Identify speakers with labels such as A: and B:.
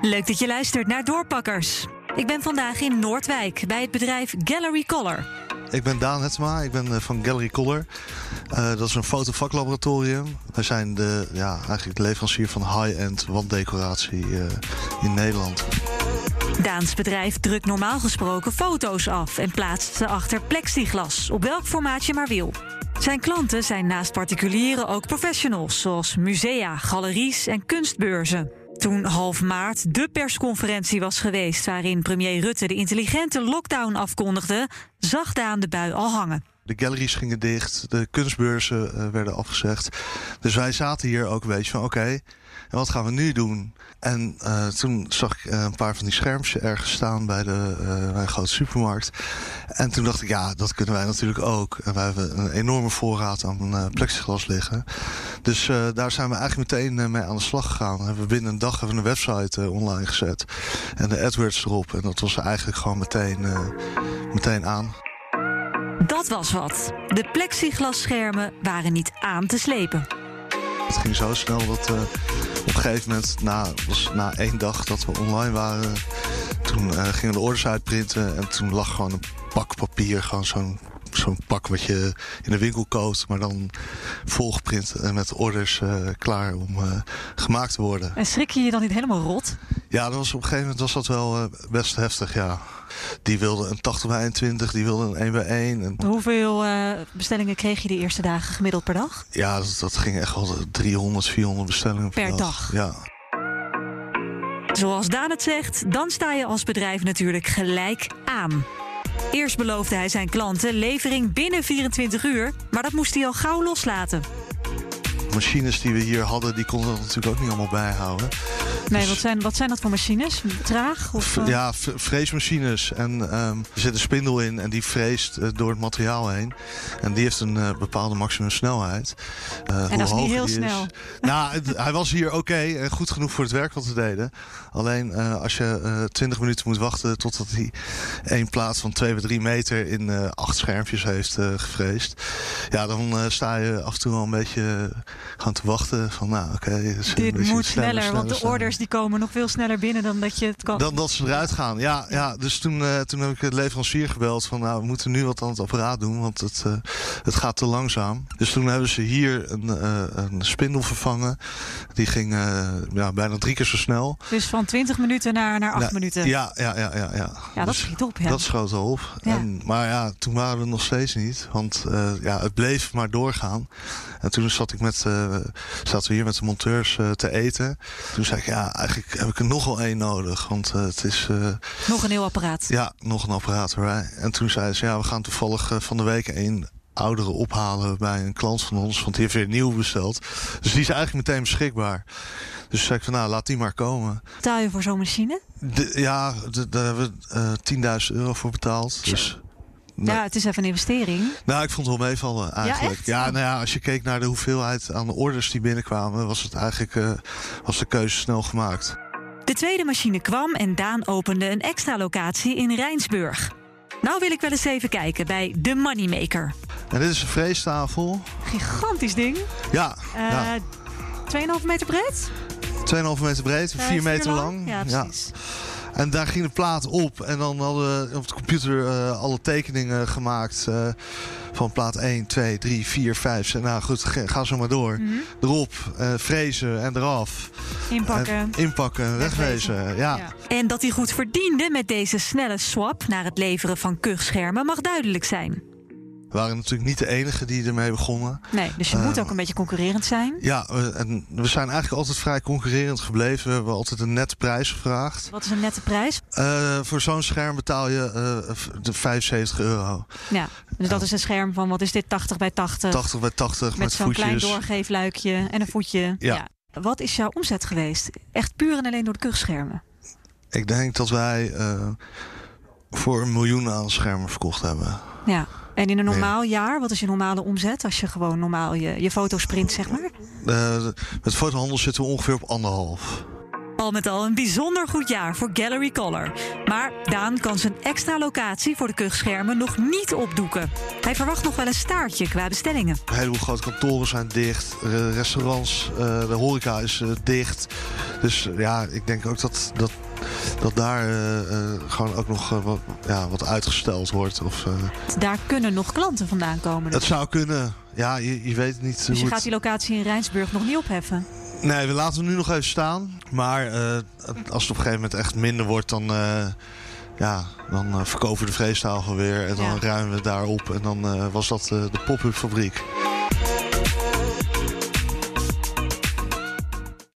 A: Leuk dat je luistert naar Doorpakkers. Ik ben vandaag in Noordwijk bij het bedrijf Gallery Color.
B: Ik ben Daan Hetsma, ik ben eh, van Gallery Color. Eh, dat is een fotovaklaboratorium. Wij zijn de, ja, eigenlijk de leverancier van high-end wanddecoratie eh, in Nederland.
A: Daans bedrijf drukt normaal gesproken foto's af en plaatst ze achter plexiglas, op welk formaat je maar wil. Zijn klanten zijn naast particulieren ook professionals, zoals musea, galeries en kunstbeurzen. Toen half maart de persconferentie was geweest waarin premier Rutte de intelligente lockdown afkondigde, zag Daan de bui al hangen.
B: De galleries gingen dicht, de kunstbeurzen eh, werden afgezegd. Dus wij zaten hier ook een beetje van oké, en wat gaan we nu doen? En eh, toen zag ik eh, een paar van die schermpjes ergens staan bij, de, eh, bij een grote supermarkt. En toen dacht ik, ja, dat kunnen wij natuurlijk ook. En wij hebben een enorme voorraad aan eh, plexiglas liggen. Dus eh, daar zijn we eigenlijk meteen eh, mee aan de slag gegaan. We hebben binnen een dag hebben we een website eh, online gezet. En de AdWords erop. En dat was eigenlijk gewoon meteen, eh, meteen aan.
A: Dat was wat. De plexiglasschermen waren niet aan te slepen.
B: Het ging zo snel dat eh, op een gegeven moment, na, was na één dag dat we online waren, toen eh, gingen we de orders uitprinten en toen lag gewoon een pak papier, gewoon zo'n zo'n pak wat je in de winkel koopt, maar dan volgeprint en met orders eh, klaar om eh, gemaakt te worden.
A: En schrik je je dan niet helemaal rot?
B: Ja, dat was op een gegeven moment was dat wel eh, best heftig, ja. Die wilde een 80 bij 21, die wilde een 1 bij 1. En
A: Hoeveel eh, bestellingen kreeg je de eerste dagen gemiddeld per dag?
B: ja, dat, dat ging echt wel 300, 400 bestellingen per,
A: Per dag.
B: Ja.
A: Zoals Daan het zegt, dan sta je als bedrijf natuurlijk gelijk aan. Eerst beloofde hij zijn klanten levering binnen 24 uur, maar dat moest hij al gauw loslaten.
B: machines die we hier hadden, die konden dat natuurlijk ook niet allemaal bijhouden.
C: Nee, wat zijn, wat zijn dat voor machines? Traag? Of,
B: V-
C: eh,
B: ja, v- vreesmachines. En ehm, er zit een spindel in en die vreest eh, door het materiaal heen. En die heeft een eh, bepaalde maximum snelheid. Eh, hoe
C: dat is niet
B: hoger
C: heel
B: die
C: snel.
B: Nou, het- hij was hier oké en goed genoeg voor het werk wat we deden. Alleen eh, als je eh 20 minuten moet wachten totdat hij één plaats van 2 bij 3 meter in eh, acht schermpjes heeft eh, gevreesd. Ja, dan eh, sta je af en toe wel een beetje eh, gaan te wachten van nou oké. het is een
C: dit
B: beetje
C: moet sneller, want de
B: sneller.
C: orders die komen nog veel sneller binnen dan dat je het kan.
B: Dan dat ze eruit gaan. Ja, ja. dus toen, eh, toen heb ik de leverancier gebeld van nou, we moeten nu wat aan het apparaat doen, want het, eh, het gaat te langzaam. Dus toen hebben ze hier een, eh, een spindel vervangen. Die ging eh, ja, bijna drie keer zo snel.
C: Dus van 20 minuten naar, naar 8
B: Nou,
C: minuten.
B: Ja, ja, ja, ja. Ja,
C: Ja, dat
B: Dus
C: schiet op. Ja.
B: dat schoot al op.
C: Ja.
B: En, maar ja, toen waren we er nog steeds niet. Want eh, ja, het bleef maar doorgaan. En toen zat ik met, eh, zaten we hier met de monteurs eh, te eten. Toen zei ik, ja, eigenlijk heb ik er nog wel één nodig. Want eh, het is... eh,
A: Nog een heel apparaat.
B: ja, nog een apparaat voor mij. En toen zei ze, ja, we gaan toevallig eh, van de week een oudere ophalen bij een klant van ons. Want die heeft weer nieuw besteld. Dus die is eigenlijk meteen beschikbaar. Dus zei ik van, nou, laat die maar komen.
A: Betaal je voor zo'n machine?
B: De- ja, de- daar hebben we eh 10.000 euro voor betaald. Dus, Nee.
C: ja, het is even een investering.
B: nou, ik vond het wel meevallen eigenlijk.
C: echt?
B: nou ja, als je keek naar de hoeveelheid aan de orders die binnenkwamen... was, het eigenlijk, eh, was de keuze snel gemaakt.
A: De tweede machine kwam en Daan opende een extra locatie in Rijnsburg. Nou wil ik wel eens even kijken bij de Moneymaker.
B: En dit is een vreestafel.
C: Gigantisch ding.
B: Ja,
C: Eh
B: ja.
C: 2,5 meter breed?
B: 2,5 meter breed,
A: Eh,
B: 4 meter lang.
C: Ja, precies.
B: En daar ging de plaat op. En dan hadden we op de computer eh, alle tekeningen gemaakt. eh, van plaat 1, 2, 3, 4, 5. En nou goed, ge- ga zo maar door.
C: Mhm.
B: Erop, eh, vrezen en eraf.
C: Inpakken.
B: En inpakken en
C: Wegwezen.
B: wegwezen. eh, Ja.
C: Ja.
A: En dat hij goed verdiende met deze snelle swap naar het leveren van kuchschermen mag duidelijk zijn.
B: We waren natuurlijk niet de enige die ermee begonnen.
C: Nee, dus je moet
B: Eh.
C: ook een beetje concurrerend zijn.
B: Ja, we, en we zijn eigenlijk altijd vrij concurrerend gebleven. We hebben altijd een nette prijs gevraagd.
C: Wat is een nette prijs?
B: Eh, voor zo'n scherm betaal je eh, v- de 75 euro.
C: Ja, dus dat is een scherm van, wat is dit, 80 bij 80?
B: 80 bij 80 met,
C: met zo'n klein
B: voetjes.
C: doorgeefluikje en een voetje.
B: Ja.
C: Wat is jouw omzet geweest? Echt puur en alleen door de kuchschermen.
B: Ik denk dat wij eh, voor een miljoen aan schermen verkocht hebben.
C: Ja. En in een
B: Nee.
C: normaal jaar, wat is je normale omzet als je gewoon normaal je, je foto's print, zeg maar?
B: Eh, met fotohandel zitten we ongeveer op anderhalf.
A: Al met al een bijzonder goed jaar voor Gallery Color. Maar Daan kan zijn extra locatie voor de kuchschermen nog niet opdoeken. Hij verwacht nog wel een staartje qua bestellingen.
B: Een heleboel grote kantoren zijn dicht, eh, restaurants, eh, de horeca is eh, dicht. Dus eh, ja, ik denk ook dat, dat, dat daar eh, eh, gewoon ook nog eh, wat, ja, wat uitgesteld wordt. Of, eh,
C: Daar kunnen nog klanten vandaan komen.
B: het zou kunnen. Ja, je, je weet
C: Dus
B: niet
C: je
B: hoe
C: gaat
B: het...
C: die locatie in Rijnsburg nog niet opheffen.
B: Nee, we laten hem nu nog even staan. Maar eh, als het op een gegeven moment echt minder wordt, dan, eh, ja, dan eh, verkopen we de vreestaal weer. En dan
C: Ja.
B: ruimen we het daar op. En dan eh, was dat eh, de pop-up fabriek.